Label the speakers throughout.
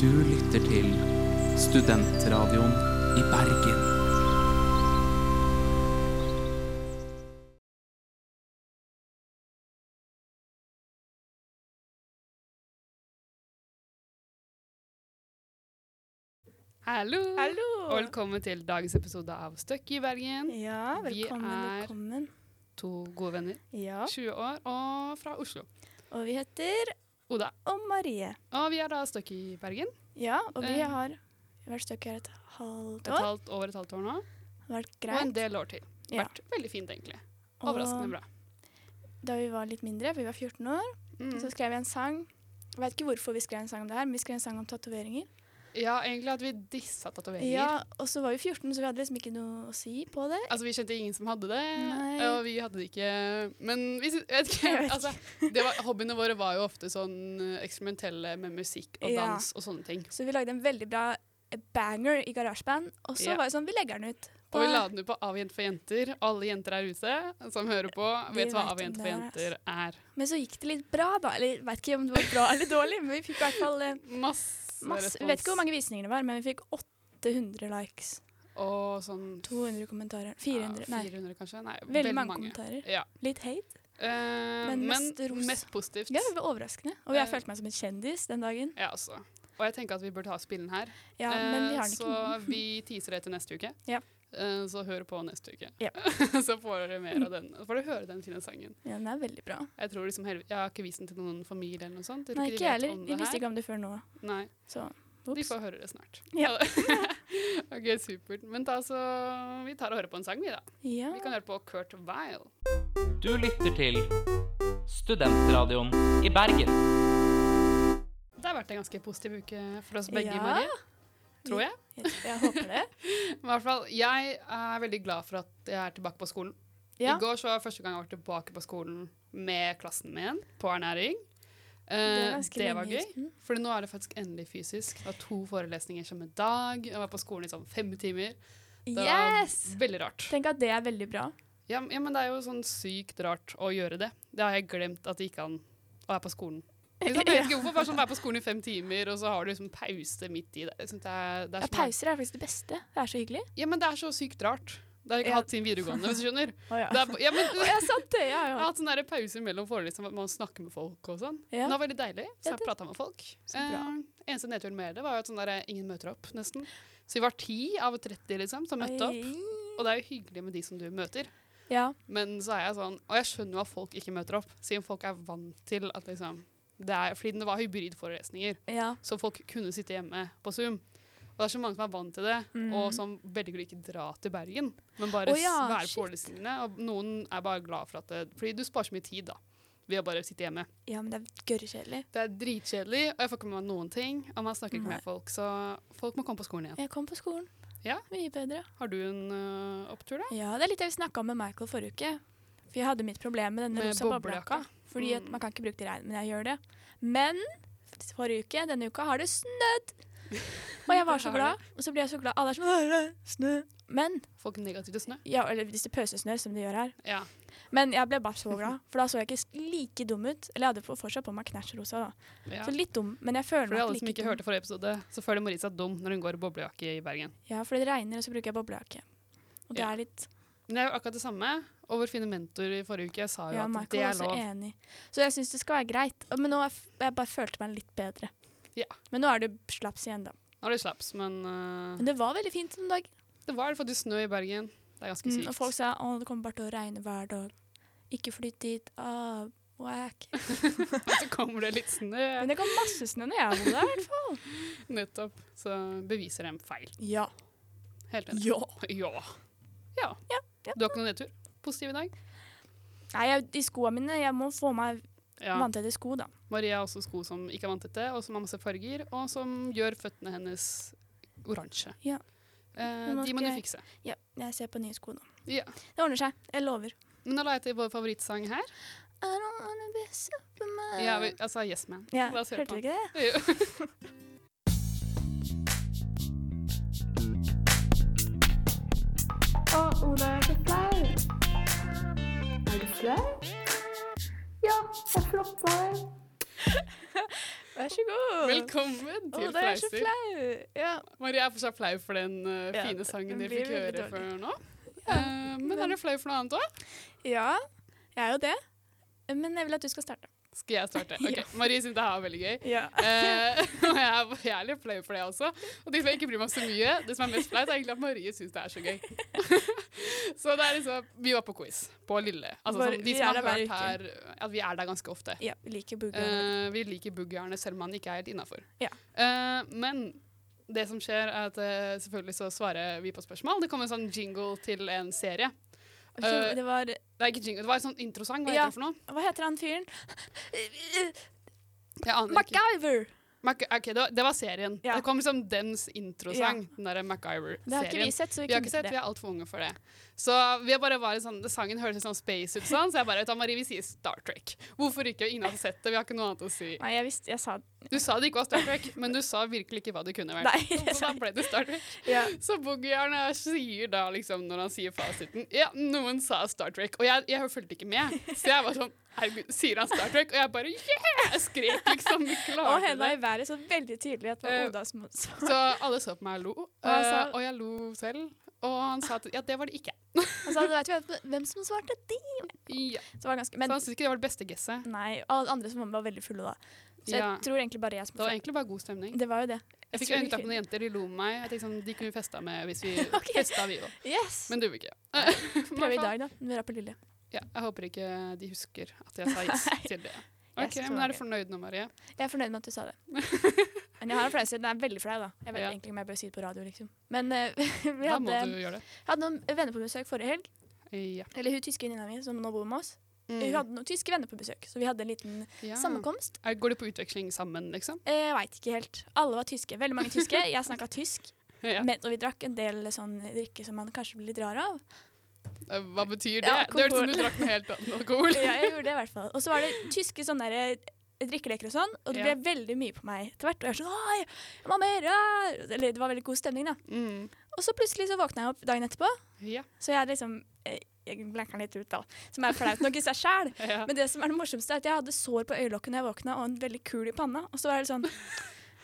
Speaker 1: Du lytter til Studentradioen i Bergen.
Speaker 2: Hallo!
Speaker 3: Hallo!
Speaker 2: Og velkommen til dagens episode av Støkk i Bergen.
Speaker 3: Ja,
Speaker 2: Vi
Speaker 3: velkommen,
Speaker 2: er-
Speaker 3: velkommen.
Speaker 2: To gode venner,
Speaker 3: Ja,
Speaker 2: 20 år og fra Oslo.
Speaker 3: og vi heter
Speaker 2: Oda.
Speaker 3: Og Marie.
Speaker 2: Og vi er da Støkk i Bergen.
Speaker 3: Ja, og vi
Speaker 2: Eh.
Speaker 3: har vært støkk her et halvt
Speaker 2: Et
Speaker 3: år.
Speaker 2: halvt over et halvt år nå.
Speaker 3: Det har vært
Speaker 2: Og en
Speaker 3: greit.
Speaker 2: del år til.
Speaker 3: Ja.
Speaker 2: Vært veldig fint, egentlig. Overraskende bra.
Speaker 3: Og da vi var litt mindre, for vi var 14 år,
Speaker 2: Mm.
Speaker 3: så skrev vi en sang. Jeg vet ikke hvorfor vi skrev en sang om det her, men vi skrev en sang om tatoveringer.
Speaker 2: Ja, egentlig hadde vi dissa tatoveringer.
Speaker 3: Ja, og så var vi 14, så vi hadde liksom ikke noe å si på det.
Speaker 2: Altså, vi kjente ingen som hadde det,
Speaker 3: Nei.
Speaker 2: og vi hadde det ikke Men vi sy- vet ikke,
Speaker 3: Jeg vet
Speaker 2: altså, det var, Hobbyene våre var jo ofte sånn eh, eksperimentelle med musikk og
Speaker 3: Ja.
Speaker 2: dans og sånne ting.
Speaker 3: Så vi lagde en veldig bra eh, banger i GarageBand, og så
Speaker 2: Ja.
Speaker 3: var det sånn, vi legger den ut.
Speaker 2: Og vi la den ut på Avjent for jenter. Alle jenter her ute som hører på,
Speaker 3: Vi
Speaker 2: vet hva
Speaker 3: vet
Speaker 2: Avjent
Speaker 3: om
Speaker 2: for
Speaker 3: det er,
Speaker 2: jenter er.
Speaker 3: Men så gikk det litt bra da, eller jeg vet ikke om det var bra eller dårlig, men vi fikk i hvert fall... eh,
Speaker 2: Masse,
Speaker 3: Masse,
Speaker 2: respons.
Speaker 3: vi vet ikke hvor mange visninger det var, men vi fikk 800 likes.
Speaker 2: Og sånn
Speaker 3: 200 kommentarer.
Speaker 2: ja,
Speaker 3: 400, nei.
Speaker 2: 400 kanskje? Nei,
Speaker 3: Veldig, mange, kommentarer.
Speaker 2: Ja.
Speaker 3: Litt hate.
Speaker 2: Eh, men
Speaker 3: Men
Speaker 2: mest,
Speaker 3: mest ros.
Speaker 2: positivt.
Speaker 3: Ja, det var overraskende. Og jeg
Speaker 2: Eh.
Speaker 3: følte meg som en kjendis den dagen.
Speaker 2: Ja, altså. Og jeg tenker at vi burde ha spillen her.
Speaker 3: Ja, men vi
Speaker 2: Eh,
Speaker 3: har den
Speaker 2: så
Speaker 3: ikke nå.
Speaker 2: vi teaser det til neste uke.
Speaker 3: Ja.
Speaker 2: Eh, Så hør på neste uke.
Speaker 3: Ja.
Speaker 2: så får dere mer av den. Så får dere høre den fine sangen.
Speaker 3: Ja, den er veldig bra.
Speaker 2: Jeg, tror liksom, hel- jeg har ikke vist den til noen familie eller noe sånt. Jeg tror
Speaker 3: Nei,
Speaker 2: de
Speaker 3: ikke jeg
Speaker 2: vet
Speaker 3: heller.
Speaker 2: om
Speaker 3: Vi
Speaker 2: det her.
Speaker 3: visste ikke om det før nå.
Speaker 2: Nei,
Speaker 3: Så
Speaker 2: de
Speaker 3: ops.
Speaker 2: får høre det snart.
Speaker 3: Ja.
Speaker 2: ok, supert. Men da så Vi tar og hører på en sang, vi, da.
Speaker 3: Ja.
Speaker 2: Vi kan høre på Kurt Weil.
Speaker 1: Du lytter til Studentradioen i Bergen.
Speaker 2: Det har vært en ganske positiv uke for oss begge,
Speaker 3: Ja.
Speaker 2: Marie. Tror jeg.
Speaker 3: Jeg, jeg håper det.
Speaker 2: I hvert fall, jeg er veldig glad for at jeg er tilbake på skolen.
Speaker 3: Ja.
Speaker 2: I går så var første gang jeg var tilbake på skolen med klassen min på ernæring. Eh,
Speaker 3: Det er
Speaker 2: det,
Speaker 3: ganske
Speaker 2: var
Speaker 3: lenge
Speaker 2: gøy,
Speaker 3: siden.
Speaker 2: for nå er det faktisk endelig fysisk. Det var to forelesninger samme dag. Jeg var på skolen i sånn fem timer. Det
Speaker 3: Yes!
Speaker 2: var veldig rart.
Speaker 3: Tenk at det er veldig bra.
Speaker 2: Ja, m- ja, men det er jo sånn sykt rart å gjøre det. Det har jeg glemt at det gikk an å være på skolen. Liksom, jeg vet ikke hvorfor, bare sånn være på skolen i fem timer, og så har du liksom pause midt i det. Liksom, det, er, det
Speaker 3: Ja,
Speaker 2: er så
Speaker 3: pauser er faktisk det beste. Det er så hyggelig.
Speaker 2: Ja, men det er så sykt rart. Det har jeg ikke
Speaker 3: Ja.
Speaker 2: hatt siden videregående, hvis du skjønner.
Speaker 3: Å
Speaker 2: Det er, ja, men,
Speaker 3: Jeg satt det, ja,
Speaker 2: jeg har
Speaker 3: ja.
Speaker 2: hatt sånne der pauser mellom forelesninger, at man snakker med folk og sånn.
Speaker 3: Ja.
Speaker 2: Det var veldig deilig, så
Speaker 3: Ja,
Speaker 2: jeg
Speaker 3: det-
Speaker 2: pratet med folk.
Speaker 3: Så bra.
Speaker 2: Eh, eneste nedturen med det var jo at sånn der, ingen møter opp, nesten. Så vi var ti av 30 liksom, som møtte opp. Og det er jo hyggelig med de som du møter.
Speaker 3: Ja.
Speaker 2: Men så er jeg sånn, og jeg skjønner jo at folk ikke møter opp, siden folk er vant til at liksom, det er, fordi det var hybridforelesninger.
Speaker 3: Ja.
Speaker 2: Så folk kunne sitte hjemme på Zoom. Og det er så mange som er vant til det,
Speaker 3: Mm.
Speaker 2: og som velger å ikke dra til Bergen. Men bare
Speaker 3: Å ja,
Speaker 2: s- være
Speaker 3: shit.
Speaker 2: på forelesningene. Og noen er bare glad for at det Fordi du sparer så mye tid, da. Ved å bare sitte hjemme.
Speaker 3: ja, men det er gørrkjedelig.
Speaker 2: Det er dritkjedelig, og jeg får ikke med meg noen ting. Og man snakker ikke
Speaker 3: Nei.
Speaker 2: med folk, så folk må komme på skolen igjen.
Speaker 3: Jeg kom på skolen.
Speaker 2: Ja.
Speaker 3: Mye bedre.
Speaker 2: Har du en ø, opptur, da?
Speaker 3: Ja, det er litt det vi snakka om med Michael forrige uke. For jeg hadde mitt problem med denne
Speaker 2: Med
Speaker 3: rosa boblejakka.
Speaker 2: boblejakka.
Speaker 3: Fordi at
Speaker 2: Mm.
Speaker 3: man kan ikke bruke det i regn, men jeg gjør det. Men forrige uke, denne uka, har det snødd! Og jeg var så
Speaker 2: Har
Speaker 3: glad, og så ble jeg så glad. Alle er sånn «Åh, det er Snø. Men
Speaker 2: Folk er negative til snø?
Speaker 3: ja, Eller hvis det pøsesnør, som det gjør her.
Speaker 2: Ja.
Speaker 3: Men jeg ble bare så glad, for da så jeg ikke like dum ut. Eller jeg hadde på- fortsatt på meg knæsjrosa, da.
Speaker 2: ja.
Speaker 3: Så litt dum, men jeg føler
Speaker 2: Fordi
Speaker 3: meg
Speaker 2: alle
Speaker 3: ikke
Speaker 2: som ikke
Speaker 3: dum.
Speaker 2: hørte forrige episode, så føler Marie seg dum når hun går i boblejakke i Bergen.
Speaker 3: Ja, for det regner, og så bruker jeg boblejakke. Og det
Speaker 2: Ja.
Speaker 3: er litt
Speaker 2: Men det er jo akkurat det samme. Og vår fine mentor i forrige uke sa jo
Speaker 3: Ja,
Speaker 2: at
Speaker 3: Michael
Speaker 2: det
Speaker 3: er
Speaker 2: er
Speaker 3: også
Speaker 2: lov.
Speaker 3: enig. Så jeg syns det skal være greit. Og- Men nå er f- jeg bare følte meg litt bedre.
Speaker 2: Ja.
Speaker 3: Men nå er det slaps igjen, da.
Speaker 2: Nå er det slaps, men ø,
Speaker 3: Men det var veldig fint en dag.
Speaker 2: Det var faktisk snø i Bergen. Det er ganske sykt.
Speaker 3: Mm, og folk sa at det kommer bare til å regne hver dag. Ikke flytt dit. Ah, whack.
Speaker 2: så kommer det litt snø
Speaker 3: Men det kom masse snø når jeg bodde der, i hvert fall.
Speaker 2: nettopp. Så beviser dem feil.
Speaker 3: Ja.
Speaker 2: Helt enig.
Speaker 3: ja.
Speaker 2: Ja. Ja.
Speaker 3: ja.
Speaker 2: Du har ikke noen nedtur? Positiv i dag?
Speaker 3: Nei, jeg, de skoene mine Jeg må få meg
Speaker 2: Ja.
Speaker 3: vanntette sko, da.
Speaker 2: Maria har også sko som ikke er vanntette, og som har masse farger, og som gjør føttene hennes oransje.
Speaker 3: Ja.
Speaker 2: Eh,
Speaker 3: Men nå
Speaker 2: de må
Speaker 3: skal
Speaker 2: du
Speaker 3: jeg-
Speaker 2: fikse.
Speaker 3: Ja, jeg ser på nye sko nå.
Speaker 2: Ja.
Speaker 3: Det ordner seg. Jeg lover.
Speaker 2: Men da la jeg til vår favorittsang her.
Speaker 3: I don't wanna be Superman.
Speaker 2: Ja, vi, altså Yes Man.
Speaker 3: ja,
Speaker 2: La oss høre
Speaker 3: hørte
Speaker 2: på
Speaker 3: du
Speaker 2: den.
Speaker 3: ikke det?
Speaker 2: Jo.
Speaker 4: Å, Oda, jeg er så flau. Er du flau? Ja, jeg floppa deg.
Speaker 3: Vær så god.
Speaker 2: Velkommen
Speaker 3: Å,
Speaker 2: til
Speaker 3: da er jeg så
Speaker 2: Fleiser.
Speaker 3: flau. Ja.
Speaker 2: Marie er fortsatt flau for den eh,
Speaker 3: Ja,
Speaker 2: fine sangen
Speaker 3: den
Speaker 2: dere
Speaker 3: blir
Speaker 2: fikk
Speaker 3: veldig
Speaker 2: høre
Speaker 3: dårlig.
Speaker 2: før nå.
Speaker 3: Ja,
Speaker 2: Eh, men er
Speaker 3: men-
Speaker 2: du flau for noe annet òg?
Speaker 3: ja, jeg er jo det. Men jeg vil at du skal starte.
Speaker 2: Skal jeg starte? Ok,
Speaker 3: Ja.
Speaker 2: Marie syns det her var veldig gøy.
Speaker 3: Ja.
Speaker 2: Eh, og jeg, er- jeg er litt flau for det også. Og det som jeg ikke bryr meg om så mye, det som er mest flaut, er egentlig at Marie syns det er så gøy. så det er liksom Vi var på quiz på Lille. Altså,
Speaker 3: Bare-
Speaker 2: sånn,
Speaker 3: vi
Speaker 2: de som
Speaker 3: er
Speaker 2: har
Speaker 3: der hver
Speaker 2: hørt her, at vi er der ganske ofte.
Speaker 3: ja, vi liker boogie.
Speaker 2: Eh, vi liker boogierne selv om han ikke er helt innafor. Eh,
Speaker 3: Ja.
Speaker 2: men det som skjer, er at eh, selvfølgelig så svarer vi på spørsmål. Det kom en sånn jingle til en serie. eh,
Speaker 3: det var
Speaker 2: Det er ikke jingle, det var en sånn introsang. Hva
Speaker 3: Ja.
Speaker 2: heter det for noe?
Speaker 3: Hva heter han fyren?
Speaker 2: Jeg aner ikke.
Speaker 3: MacGyver!
Speaker 2: Mac ok, det, var, det var serien.
Speaker 3: Ja.
Speaker 2: Det kom liksom dens introsang. Den derre MacGyver-serien.
Speaker 3: Det har ikke vi sett, så vi
Speaker 2: Vi har
Speaker 3: kunne
Speaker 2: ikke sett,
Speaker 3: ikke
Speaker 2: vi
Speaker 3: det.
Speaker 2: er altfor unge for det. Så vi har bare vært sånn, Sangen hørtes sånn space ut, sånn, så jeg bare vet du, Marie, vi sier Star Trek. Hvorfor ikke? Ingen har sett det, vi har ikke noe annet å si.
Speaker 3: Nei, jeg visste Jeg sa
Speaker 2: Du sa det ikke var Star Trek, men du sa virkelig ikke hva det kunne vært.
Speaker 3: Nei, jeg
Speaker 2: så
Speaker 3: sa
Speaker 2: da ble det Star Trek.
Speaker 3: ja.
Speaker 2: Så Boogie-Jarne sier da, liksom, når han sier fasiten Ja, noen sa Star Trek, og jeg, jeg fulgte ikke med. Så jeg var sånn Herregud, sier han Star Trek? Og jeg bare Yeah! Jeg skrek liksom. Vi
Speaker 3: Og
Speaker 2: klarte
Speaker 3: henda
Speaker 2: det.
Speaker 3: i været så veldig tydelig at det
Speaker 2: Eh,
Speaker 3: var Oda som
Speaker 2: Så alle så på meg og lo,
Speaker 3: han sa-
Speaker 2: eh, og jeg lo selv. Og han sa at ja, det var det ikke.
Speaker 3: Han sa veit Altså, du hvem- hvem som svarte det?
Speaker 2: Ja.
Speaker 3: Så det var ganske
Speaker 2: så
Speaker 3: Men
Speaker 2: han syntes ikke det var det beste gesset.
Speaker 3: nei, alle andre som var veldig fulle da. Så jeg
Speaker 2: Ja.
Speaker 3: tror egentlig bare jeg som
Speaker 2: Det var
Speaker 3: svarte.
Speaker 2: egentlig bare god stemning.
Speaker 3: Det var jo det.
Speaker 2: Jeg fikk
Speaker 3: tror
Speaker 2: øyekast
Speaker 3: vi-
Speaker 2: på noen jenter, de lo med meg. Jeg tenkte sånn, De kunne vi festa med hvis vi
Speaker 3: Ok.
Speaker 2: festa, vi òg.
Speaker 3: Yes!
Speaker 2: Men du vil ikke.
Speaker 3: Prøv i dag, da. Når vi er på Lille.
Speaker 2: Ja, jeg håper ikke de husker at jeg sa yes til det. Ok,
Speaker 3: tror
Speaker 2: men
Speaker 3: det.
Speaker 2: Er du fornøyd nå, Marie?
Speaker 3: Jeg er fornøyd med at du sa det. Men jeg har en flau side. Den er veldig flau, da. Jeg vet
Speaker 2: Ja.
Speaker 3: egentlig ikke om jeg bør si det på radio, liksom. Men eh, vi
Speaker 2: Da må
Speaker 3: hadde,
Speaker 2: du gjøre det.
Speaker 3: jeg hadde noen venner på besøk forrige helg.
Speaker 2: Ja.
Speaker 3: Eller hun tyske venninna mi som nå bor med oss.
Speaker 2: Mm.
Speaker 3: Hun hadde noen tyske venner på besøk, så vi hadde en liten
Speaker 2: Ja.
Speaker 3: sammenkomst.
Speaker 2: Er- Går det på utveksling sammen, liksom?
Speaker 3: Eh, Jeg veit ikke helt. Alle var tyske. Veldig mange tyske. Jeg snakka tysk,
Speaker 2: Ja.
Speaker 3: men, og vi drakk en del sånn drikke som man kanskje blir litt rar av.
Speaker 2: Eh, Hva betyr det?
Speaker 3: Ja,
Speaker 2: det hørtes ut som
Speaker 3: alkohol.
Speaker 2: du drakk noe helt annet alkohol.
Speaker 3: Ja, jeg gjorde det i hvert fall. Og så var det tyske sånne der, eh, drikkeleker og sånn, og det
Speaker 2: Ja.
Speaker 3: ble veldig mye på meg etter hvert. Og jeg var sånn Oi, jeg må ha mer! ah!» Eller det var veldig god stemning, da.
Speaker 2: Mm.
Speaker 3: Og så plutselig så våkna jeg opp dagen etterpå,
Speaker 2: Ja.
Speaker 3: så jeg liksom eh, jeg blanker litt ut, da. Som er flaut nok i seg sjæl.
Speaker 2: Ja.
Speaker 3: Men det som er det morsomste, er at jeg hadde sår på øyelokket når jeg våkna, og en veldig kul i panna. Og så var det sånn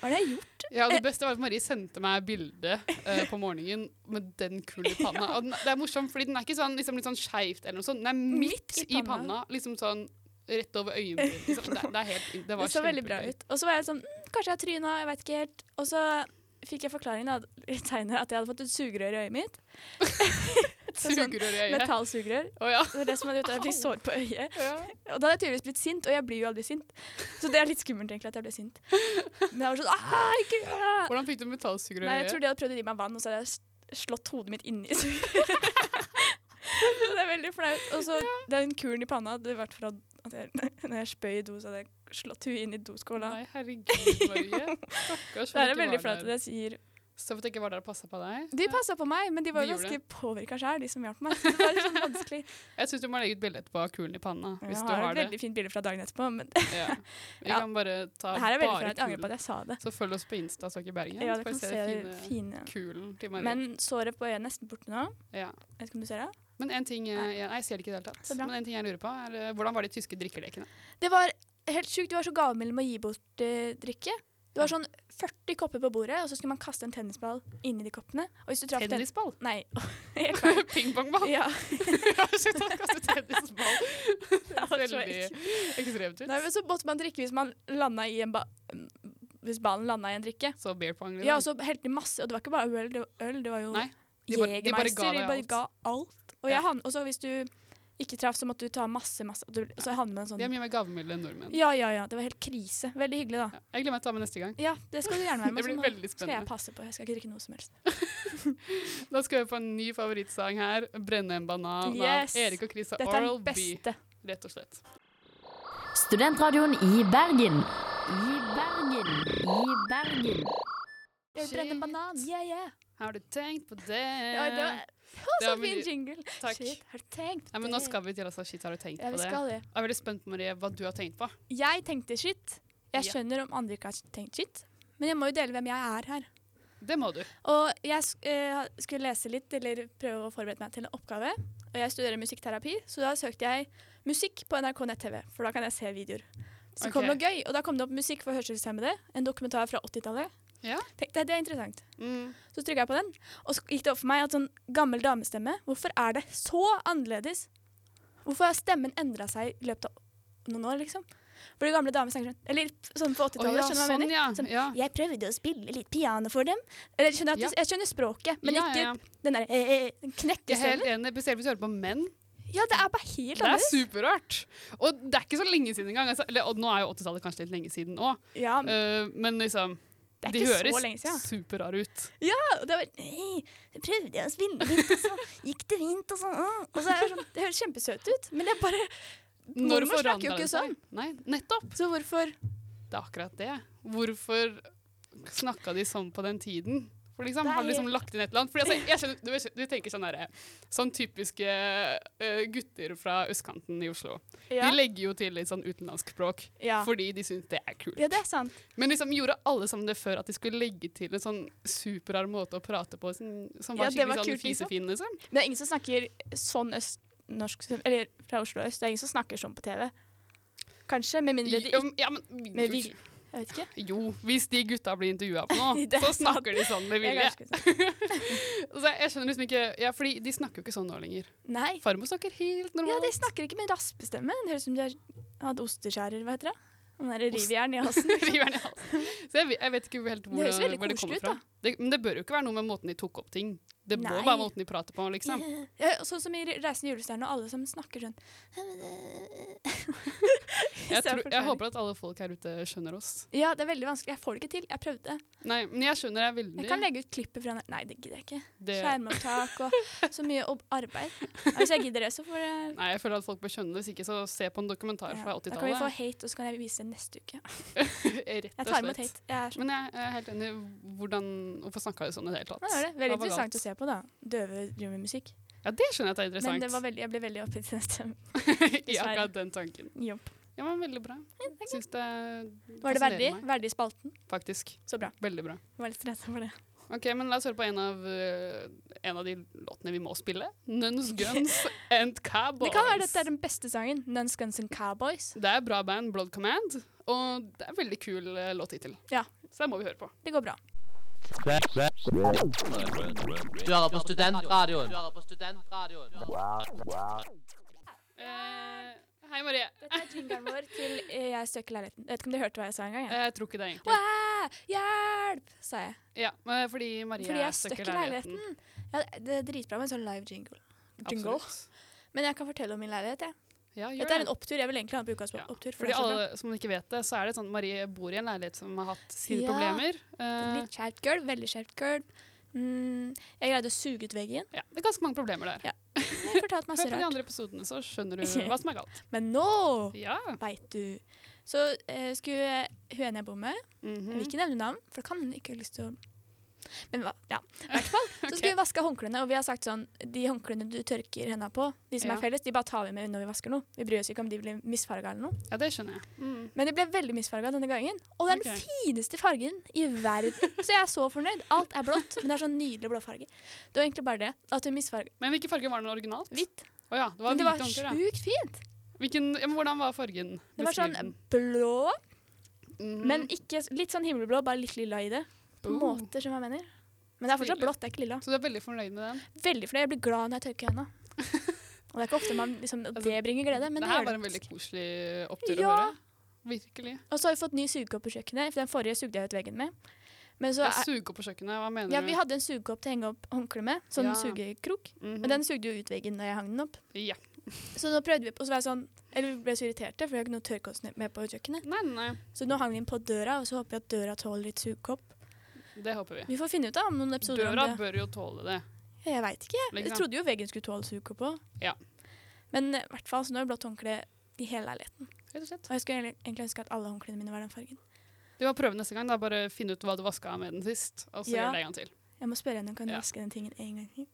Speaker 3: Hva er det jeg gjorde?
Speaker 2: ja, og Det beste var at Marie sendte meg bilde eh, på morgenen med den kulen i panna. Og den, det er morsomt, fordi den er ikke sånn, liksom, litt sånn skeivt eller noe sånt. Den er midt, i, panna. Liksom sånn rett over øynene. Liksom. Det, det, er helt, det
Speaker 3: Det
Speaker 2: var
Speaker 3: så veldig bra
Speaker 2: kjempegøy.
Speaker 3: ut. Og så var jeg sånn mm, Kanskje jeg har tryna, jeg vet ikke helt. Og så fikk jeg forklaringen av- litt senere at jeg hadde fått et sugerør i øyet mitt. Et sånn
Speaker 2: Sugerør i øyet.
Speaker 3: metallsugerør.
Speaker 2: Å ja.
Speaker 3: Det var det som hadde gjort at jeg fikk sår på øyet.
Speaker 2: ja.
Speaker 3: Og da hadde jeg tydeligvis blitt sint, og jeg blir jo aldri sint. Så det er litt skummelt egentlig at jeg ble sint. Men jeg var sånn ah, ikke gjør det!
Speaker 2: Hvordan fikk du metallsugerør i
Speaker 3: Nei, jeg
Speaker 2: øyet?
Speaker 3: tror de hadde prøvd å gi meg vann, og så hadde jeg s- slått hodet mitt inni sugerøret. det er veldig flaut. Og så den kuren i panna, det var fra at jeg, når jeg spøy i do, så hadde jeg slått huet inn i doskåla.
Speaker 2: Nei, herregud, Marie. Stakkars. for at
Speaker 3: Det er
Speaker 2: du
Speaker 3: veldig
Speaker 2: var
Speaker 3: flaut at
Speaker 2: der.
Speaker 3: jeg sier
Speaker 2: Så for at jeg ikke var der og passa på deg.
Speaker 3: De passa på meg, men de var
Speaker 2: De
Speaker 3: jo
Speaker 2: gjorde
Speaker 3: ganske påvirka sjøl, de som hjalp meg. Så det var litt sånn vanskelig.
Speaker 2: Jeg syns du må legge ut bilde etterpå av kulen i panna. Hvis
Speaker 3: Jeg
Speaker 2: du
Speaker 3: har
Speaker 2: har
Speaker 3: et
Speaker 2: det.
Speaker 3: veldig fint bilde fra dagen etterpå, men
Speaker 2: Ja. Vi
Speaker 3: Ja.
Speaker 2: kan bare ta
Speaker 3: det her er veldig
Speaker 2: bare
Speaker 3: flaut. Jeg angrer på
Speaker 2: kulen.
Speaker 3: at jeg sa det.
Speaker 2: Så følg oss på Insta, Stokke Bergen.
Speaker 3: Ja,
Speaker 2: så
Speaker 3: du
Speaker 2: får vi
Speaker 3: kan
Speaker 2: se
Speaker 3: se
Speaker 2: det
Speaker 3: det
Speaker 2: fine
Speaker 3: fine.
Speaker 2: kulen til Marie.
Speaker 3: Men såret på øyet er nesten borte nå.
Speaker 2: ja.
Speaker 3: Vet ikke om du ser det?
Speaker 2: Men en ting eh, jeg, nei, jeg ser det ikke i det hele tatt.
Speaker 3: Så bra.
Speaker 2: Men en ting jeg lurer på er eh, hvordan var de tyske drikkelekene?
Speaker 3: Det var helt sjukt. Du var så gavmild med å gi bort eh, drikke. Det var sånn 40 kopper på bordet, og så skulle man kaste en tennisball inni de koppene. Og hvis du traff den
Speaker 2: Tennisball?
Speaker 3: Nei. helt feil.
Speaker 2: Pingpongball?
Speaker 3: Ja.
Speaker 2: Shit, han kastet tennisball. Det
Speaker 3: var
Speaker 2: høres
Speaker 3: så
Speaker 2: veldig ekstremt ut.
Speaker 3: Nei, men så måtte man drikke hvis man landa i en ba Hvis ballen landa i en drikke.
Speaker 2: Så beer pong? Liksom.
Speaker 3: Ja, og så helte de masse. Og det var ikke bare øl, det var, øl, det var jo
Speaker 2: Nei, de bare-
Speaker 3: Jegermeister.
Speaker 2: de
Speaker 3: De
Speaker 2: bare ga deg
Speaker 3: bare
Speaker 2: alt.
Speaker 3: ga alt. Og
Speaker 2: Ja.
Speaker 3: jeg han- og så hvis du ikke traff, så måtte du ta masse, masse. Du, så jeg havnet med en
Speaker 2: De er
Speaker 3: sånn
Speaker 2: mye mer gavmilde enn nordmenn.
Speaker 3: Ja, ja, ja. Det var helt krise. Veldig hyggelig, da.
Speaker 2: Ja. Jeg gleder meg til å ta med neste gang.
Speaker 3: Ja, det skal du gjerne være med.
Speaker 2: Det blir
Speaker 3: så må-
Speaker 2: veldig
Speaker 3: Skal jeg
Speaker 2: spennende.
Speaker 3: passe på. Jeg skal ikke drikke noe som helst.
Speaker 2: Da skal vi på en ny favorittsang her. 'Brenne en banan'
Speaker 3: Yes.
Speaker 2: av Erik og Chrissa
Speaker 3: Dette er
Speaker 2: Oral
Speaker 3: den
Speaker 2: B.
Speaker 3: beste.
Speaker 2: Rett og slett.
Speaker 5: Studentradioen i Bergen. I Bergen. I Bergen.
Speaker 3: Jeg vil brenne en banan. Yeah, yeah.
Speaker 2: Har du tenkt på det?
Speaker 3: Ja, det var
Speaker 2: Eh, Det var
Speaker 3: så fin
Speaker 2: mye-
Speaker 3: jingle.
Speaker 2: Takk.
Speaker 3: Shit, har du tenkt
Speaker 2: Nei, men nå skal vi til altså, shit, har du tenkt
Speaker 3: Ja,
Speaker 2: på
Speaker 3: vi
Speaker 2: det?
Speaker 3: skal det.
Speaker 2: Jeg er veldig spent på Marie, hva du har tenkt på.
Speaker 3: Jeg tenkte shit. Jeg
Speaker 2: Ja.
Speaker 3: skjønner om andre ikke har tenkt shit, men jeg må jo dele hvem jeg er her.
Speaker 2: Det må du.
Speaker 3: Og jeg sk eh, skulle lese litt, eller prøve å forberede meg til en oppgave. Og jeg studerer musikkterapi, så da søkte jeg musikk på NRK nett-TV, for da kan jeg se videoer. Så kom det
Speaker 2: Ok.
Speaker 3: noe gøy, og da kom det opp musikk for hørselshemmede. En dokumentar fra 80-tallet.
Speaker 2: Ja.
Speaker 3: Tenkte jeg, det er interessant.
Speaker 2: Mm.
Speaker 3: Så trykket jeg på den, og så gikk det opp for meg at sånn gammel damestemme, hvorfor er det så annerledes? Hvorfor har stemmen endret seg i løpet av noen år, liksom? For de gamle damer snakker sånn, eller sånn på
Speaker 2: Å
Speaker 3: 80-tallet,
Speaker 2: ja,
Speaker 3: skjønner du hva jeg
Speaker 2: sånn,
Speaker 3: mener?
Speaker 2: ja.
Speaker 3: Sånn,
Speaker 2: ja.
Speaker 3: Jeg prøvde å spille litt piano for dem. Eller jeg skjønner, at
Speaker 2: Ja.
Speaker 3: jeg skjønner språket, men
Speaker 2: ja,
Speaker 3: ikke
Speaker 2: ja, ja.
Speaker 3: den der eh, eh, den
Speaker 2: Jeg er helt
Speaker 3: knekkestemmen.
Speaker 2: enig, spesielt hvis du hører på menn.
Speaker 3: Ja, det er bare helt
Speaker 2: Det er
Speaker 3: annerledes.
Speaker 2: superrart. Og det er ikke så lenge siden engang. Altså, eller, og nå er jo 80-tallet kanskje litt lenge siden òg,
Speaker 3: Ja, men
Speaker 2: men liksom
Speaker 3: det er
Speaker 2: Eh, de
Speaker 3: ikke
Speaker 2: høres
Speaker 3: så lenge siden.
Speaker 2: superrare ut.
Speaker 3: Ja, og det var, nei, så prøvde jeg å spille litt, og så gikk det fint, og så, ah. og så er det sånn, det høres kjempesøt ut, men det er bare,
Speaker 2: Når
Speaker 3: Mormor snakker jo
Speaker 2: forandrer
Speaker 3: ikke sånn.
Speaker 2: det seg? Nei, nettopp.
Speaker 3: så hvorfor?
Speaker 2: Det er akkurat det. Hvorfor snakka de sånn på den tiden? For liksom,
Speaker 3: Det er
Speaker 2: har de liksom
Speaker 3: helt-
Speaker 2: lagt inn et eller annet. Fordi, altså, jeg skjønner, du, vet- du tenker sånn derre Sånn typiske eh, gutter fra østkanten i Oslo.
Speaker 3: Ja,
Speaker 2: De legger jo til litt sånn utenlandsk språk
Speaker 3: ja.
Speaker 2: fordi de syns det er kult.
Speaker 3: ja det er sant.
Speaker 2: Men liksom gjorde alle sammen det før at de skulle legge til en sånn superrar måte å prate på som, som var
Speaker 3: Ja, det
Speaker 2: skikkelig
Speaker 3: var
Speaker 2: sånn
Speaker 3: kult, liksom.
Speaker 2: fisefin, liksom?
Speaker 3: Det er ingen som snakker sånn østnorsk som- Eller fra Oslo øst. Det er ingen som snakker sånn på TV. Kanskje, med mindre de
Speaker 2: Jo, ja, men,
Speaker 3: Med vilje. Jeg vet ikke.
Speaker 2: Jo, hvis de gutta blir intervjua på noe,
Speaker 3: Det er
Speaker 2: så snakker de sånn med
Speaker 3: Jeg er
Speaker 2: vilje.
Speaker 3: ganske sånn.
Speaker 2: Så jeg skjønner liksom ikke Ja, fordi de snakker jo ikke sånn nå lenger.
Speaker 3: Nei.
Speaker 2: Farmor snakker helt
Speaker 3: Ja,
Speaker 2: normalt.
Speaker 3: de snakker ikke med raspestemme. Det høres ut som de har hatt osteskjærer, hva heter det? Den derre rivjern i halsen. liksom.
Speaker 2: River den i halsen. Så jeg, vet- jeg vet ikke helt hvor
Speaker 3: Det høres
Speaker 2: det,
Speaker 3: veldig
Speaker 2: hvor det kommer fra.
Speaker 3: koselig ut, da.
Speaker 2: Det, men det bør jo ikke være noe med måten de tok opp ting. Det må
Speaker 3: Nei.
Speaker 2: være måten de prater på, liksom.
Speaker 3: Ja, sånn som i 'Reisen i julestjernen' og alle som snakker sånn
Speaker 2: Jeg,
Speaker 3: Så jeg
Speaker 2: tror,
Speaker 3: forklarer.
Speaker 2: jeg håper at alle folk her ute skjønner oss.
Speaker 3: Ja, det er veldig vanskelig. Jeg får det ikke til. Jeg prøvde.
Speaker 2: Nei, men jeg skjønner deg
Speaker 3: Jeg kan
Speaker 2: veldig.
Speaker 3: legge ut klippet fra den- Nei, det gidder jeg ikke.
Speaker 2: Det,
Speaker 3: Skjermopptak og så mye ob- arbeid. Hvis jeg gidder det, så får jeg
Speaker 2: Nei, jeg føler at folk bør skjønne det. Hvis ikke, så se på en dokumentar fra
Speaker 3: ja, Da kan vi få
Speaker 2: 80-tallet.
Speaker 3: hate, og så kan jeg vise det neste uke.
Speaker 2: Rett og
Speaker 3: Jeg tar imot
Speaker 2: slett.
Speaker 3: hate. Jeg er sånn.
Speaker 2: Men jeg er helt enig. Hvordan, hvorfor snakka de sånn i det hele tatt?
Speaker 3: Ja, det er det. Veldig
Speaker 2: Det var galt.
Speaker 3: interessant å se på, da. Døve driver med musikk.
Speaker 2: Ja, det skjønner jeg at er
Speaker 3: Men det
Speaker 2: interessant.
Speaker 3: var veldig, jeg ble veldig oppgitt i neste
Speaker 2: I akkurat den tanken.
Speaker 3: jobb.
Speaker 2: Ja, men veldig bra. Jeg syns det
Speaker 3: Var det
Speaker 2: fascinerer
Speaker 3: verdig?
Speaker 2: meg,
Speaker 3: Verdig i spalten.
Speaker 2: Faktisk.
Speaker 3: Så bra.
Speaker 2: Veldig bra.
Speaker 3: Jeg Var litt stressa for det.
Speaker 2: Ok, men La oss høre på en av, øh, en av de låtene vi må spille. Nuns Guns and Cowboys.
Speaker 3: Det kan være dette er den beste sangen. Nuns Guns and Cowboys.
Speaker 2: Det er bra band, Blood Command, og det er veldig kul øh, låttittel.
Speaker 3: Ja.
Speaker 2: Så det må vi høre på.
Speaker 3: Det går bra.
Speaker 6: Du hører på Studentradioen. Du hører på Studentradioen.
Speaker 2: Eh, hei, Marie.
Speaker 3: Dette er jingeren vår til eh, Jeg støker leiligheten. Jeg vet ikke om du hørte hva jeg sa engang. jeg.
Speaker 2: Eh, Jeg tror ikke det, egentlig.
Speaker 3: Wow, hjelp! sa jeg.
Speaker 2: Ja, men fordi Marie
Speaker 3: Fordi jeg
Speaker 2: er stuck i
Speaker 3: støkker leiligheten. Ja, det er dritbra med en sånn live jingle. jingle.
Speaker 2: Absolutt.
Speaker 3: Men jeg kan fortelle om min leilighet. jeg.
Speaker 2: Ja, gjør
Speaker 3: Dette er
Speaker 2: det.
Speaker 3: en opptur. Jeg vil egentlig ha på ukas
Speaker 2: Ja,
Speaker 3: opptur. for
Speaker 2: Fordi
Speaker 3: det er så bra.
Speaker 2: alle som ikke vet det, så er det sånn Marie bor i en leilighet som har hatt sine
Speaker 3: Ja.
Speaker 2: problemer. Eh,
Speaker 3: Litt skjevt gulv, veldig skjevt gulv. Mm, jeg greide å suge ut veggen.
Speaker 2: ja, det er ganske mange problemer der.
Speaker 3: Ja, Jeg
Speaker 2: Hør
Speaker 3: fortalte masse
Speaker 2: på de
Speaker 3: rart.
Speaker 2: andre episodene, så skjønner du hva som er galt.
Speaker 3: Men nå
Speaker 2: Ja.
Speaker 3: veit du. Så eh, skulle hun ene jeg bor med Jeg vil
Speaker 2: Mhm.
Speaker 3: ikke nevne navn, for det kan hun ikke ha lyst til å Men hva, ja. I hvert fall. Så
Speaker 2: Ok.
Speaker 3: skulle vi vaske håndklærne, og vi har sagt sånn De håndklærne du tørker hendene på, de som
Speaker 2: Ja.
Speaker 3: er felles, de bare tar vi med når vi vasker noe. Vi bryr oss ikke om de blir misfarga eller noe.
Speaker 2: ja, det skjønner jeg. Mm.
Speaker 3: Men de ble veldig misfarga denne gangen. Og det er
Speaker 2: Ok.
Speaker 3: den fineste fargen i verden. Så jeg er så fornøyd. Alt er blått, men det er sånn nydelig blåfarge. Det var egentlig bare det. At hun misfarga
Speaker 2: Men hvilken farge var den originalt?
Speaker 3: hvitt.
Speaker 2: Å ja, det var
Speaker 3: Men det
Speaker 2: hvite
Speaker 3: var
Speaker 2: håndklær, ja.
Speaker 3: sjukt fint.
Speaker 2: Hvilken, ja, men hvordan var fargen?
Speaker 3: Det var sånn mm-hmm.
Speaker 2: Beskriv den.
Speaker 3: blå,
Speaker 2: Mhm.
Speaker 3: men ikke litt sånn himmelblå, bare litt lilla i det. På
Speaker 2: Uh.
Speaker 3: måter som jeg mener. Men det er fortsatt
Speaker 2: Stilig.
Speaker 3: blått, det er ikke lilla.
Speaker 2: Så du er veldig fornøyd med den?
Speaker 3: Veldig fornøyd. Jeg blir glad når jeg tørker henda. Og det er ikke ofte man liksom, at det bringer glede, men
Speaker 2: Altså, det
Speaker 3: det
Speaker 2: her
Speaker 3: gjør
Speaker 2: var en
Speaker 3: det.
Speaker 2: veldig koselig opptur å
Speaker 3: Ja.
Speaker 2: høre. Virkelig.
Speaker 3: Og så har vi fått ny sugekopp på kjøkkenet. for Den forrige sugde jeg ut veggen med. Men så
Speaker 2: Jeg
Speaker 3: er,
Speaker 2: suger på kjøkkenet, hva mener
Speaker 3: ja,
Speaker 2: du?
Speaker 3: vi hadde en sugekopp til å henge opp håndkle med, sånn
Speaker 2: Ja.
Speaker 3: sugekrok.
Speaker 2: Mhm.
Speaker 3: Men den sugde jo ut veggen da jeg hang den opp.
Speaker 2: Ja.
Speaker 3: Så nå prøvde vi på, og så var jeg sånn, eller vi ble så irriterte, for vi har ikke noe tørrkost med på kjøkkenet.
Speaker 2: Nei, nei, nei.
Speaker 3: Så nå hang vi den på døra, og så håper vi at døra tåler litt sugekopp.
Speaker 2: Det håper vi.
Speaker 3: Vi får finne ut da om noen episoder
Speaker 2: Døra
Speaker 3: om det.
Speaker 2: bør jo tåle det.
Speaker 3: Jeg veit ikke. Jeg
Speaker 2: Liksom.
Speaker 3: trodde jo veggen skulle tåle sugekopp òg.
Speaker 2: Ja.
Speaker 3: Men eh, i hvert fall, så nå har jeg blått håndkle i hele leiligheten.
Speaker 2: Rett og slett.
Speaker 3: Og jeg skulle egentlig- egentlig ønske at alle håndklærne mine var den fargen.
Speaker 2: Du må prøve neste gang. da Bare finne ut hva du vaska med den sist. Og så
Speaker 3: Ja.
Speaker 2: gjør det en gang til.
Speaker 3: Jeg må spørre henne om kan du
Speaker 2: Ja.
Speaker 3: vaske den tingen en gang til.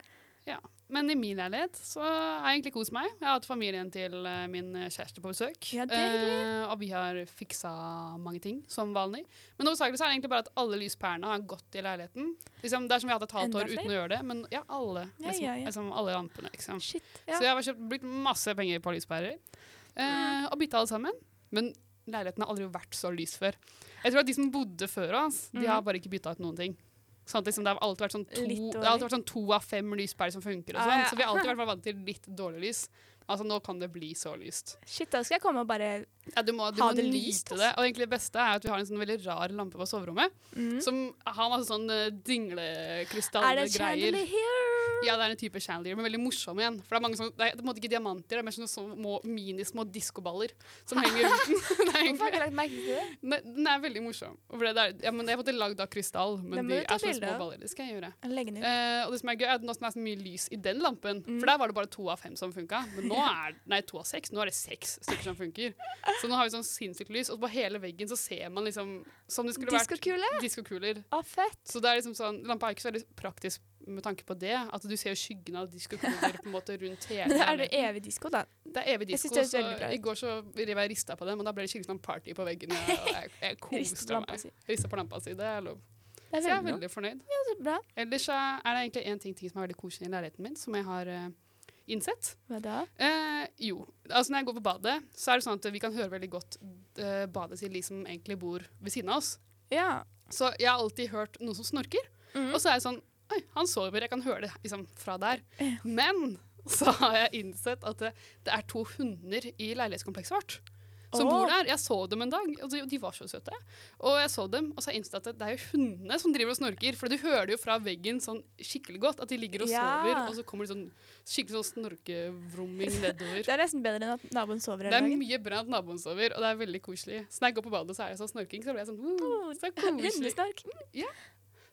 Speaker 2: Men i min leilighet så har jeg egentlig kost meg. Jeg har hatt familien til eh, min kjæreste på besøk.
Speaker 3: Ja, det er
Speaker 2: eh, og vi har fiksa mange ting, som vanlig. Men hovedsakelig så er det egentlig bare at alle lyspærene har gått i leiligheten. Liksom, det er som vi har hatt et halvt
Speaker 3: Enda
Speaker 2: år uten å gjøre det, men ja, alle.
Speaker 3: Ja,
Speaker 2: Liksom,
Speaker 3: ja, ja.
Speaker 2: Liksom, alle lampene, liksom.
Speaker 3: Shit.
Speaker 2: Så jeg har kjøpt, brukt masse penger på lyspærer. Eh, og bytta alle sammen. Men leiligheten har aldri vært så lys før. Jeg tror at de som bodde før oss, de har bare ikke bytta ut noen ting. Sånn at liksom, det har alltid vært sånn to,
Speaker 3: Mhm. Litt dårlig.
Speaker 2: det har alltid vært sånn to av fem lyspærer som funker og
Speaker 3: Ja,
Speaker 2: sånn.
Speaker 3: Ah, ja.
Speaker 2: Så vi har alltid vært vant til litt dårlig lys. Altså, nå kan det bli så lyst.
Speaker 3: Shit, da skal jeg komme og bare
Speaker 2: Ja, du må, du
Speaker 3: Ha
Speaker 2: må
Speaker 3: det
Speaker 2: nyte
Speaker 3: lyst, altså.
Speaker 2: det. Og egentlig det beste er at vi har en sånn veldig rar lampe på soverommet.
Speaker 3: mm.
Speaker 2: Som har masse sånn eh,
Speaker 3: Er det
Speaker 2: dinglekrystallgreier.
Speaker 3: chandelier?
Speaker 2: Ja, det er en type chandelier, men veldig morsom igjen. For det er mange sånne, det er på en måte ikke diamanter, det er mer sånne små, minismå diskoballer som henger rundt den. Det er
Speaker 3: Hvorfor har jeg
Speaker 2: egentlig,
Speaker 3: ikke lagt merke til det?
Speaker 2: Nei, den er veldig morsom. Og For det der, ja, men jeg har fått det lagd av krystall,
Speaker 3: Den
Speaker 2: men
Speaker 3: må
Speaker 2: de
Speaker 3: du ta
Speaker 2: er sånne
Speaker 3: bilde
Speaker 2: små
Speaker 3: av.
Speaker 2: baller. Det skal jeg gjøre.
Speaker 3: Jeg legger den ut.
Speaker 2: Eh, og det som er gøy, er at nå som det er så mye lys i den lampen,
Speaker 3: Mm.
Speaker 2: for der var det bare to av fem som funka, men nå er nei, to av seks, nå er det seks stykker som funker. Så nå har vi sånn sinnssykt lys, og på hele veggen så ser man liksom som det skulle vært
Speaker 3: Diskokule?
Speaker 2: diskokuler.
Speaker 3: Å, fett.
Speaker 2: Så det er liksom sånn, Lampa er ikke så veldig praktisk med tanke på det. At du ser jo skyggen av diskokuler på en måte rundt hele
Speaker 3: Men er det
Speaker 2: leiligheten.
Speaker 3: evig disko, da?
Speaker 2: Det er evig
Speaker 3: Jeg
Speaker 2: disko.
Speaker 3: synes
Speaker 2: Så
Speaker 3: det høres veldig bra ut.
Speaker 2: I går så rev jeg rista på dem, og da ble det skikkelig sånn party på veggen. Og jeg, jeg
Speaker 3: Ristet
Speaker 2: koste
Speaker 3: lampa
Speaker 2: meg.
Speaker 3: si.
Speaker 2: Rista på lampa si. Det er lov.
Speaker 3: Det er
Speaker 2: Så jeg er
Speaker 3: veldig,
Speaker 2: veldig fornøyd.
Speaker 3: veldig bra.
Speaker 2: Ellers så er det egentlig én ting, ting som er veldig koselig i leiligheten min, som jeg har eh, innsett.
Speaker 3: Hva da?
Speaker 2: Eh, jo. Altså Når jeg går på badet, så er det sånn at vi kan høre veldig godt eh, badet til de som egentlig bor ved siden av oss.
Speaker 3: Ja.
Speaker 2: Så jeg har alltid hørt noen som snorker.
Speaker 3: Mm.
Speaker 2: Og så er jeg sånn Oi, han sover. Jeg kan høre det liksom, fra der. Men så har jeg innsett at det, det er to hunder i leilighetskomplekset vårt. Som
Speaker 3: Åh.
Speaker 2: bor der. Jeg så dem en dag, og de, de var så søte. Og jeg så dem, og så har jeg innsett at det, det er jo hundene som driver og snorker. For du hører det jo fra veggen sånn skikkelig godt at de ligger og
Speaker 3: Ja.
Speaker 2: sover, og så kommer det sånn skikkelig sånn snorkevrumming nedover.
Speaker 3: Det er nesten bedre enn at naboen sover
Speaker 2: Det
Speaker 3: hele
Speaker 2: er
Speaker 3: dagen.
Speaker 2: mye bra at naboen sover, og det er veldig koselig. Så når jeg går på badet, så er det sånn snorking, så blir jeg sånn «Wow, Så koselig.
Speaker 3: Hundesnark.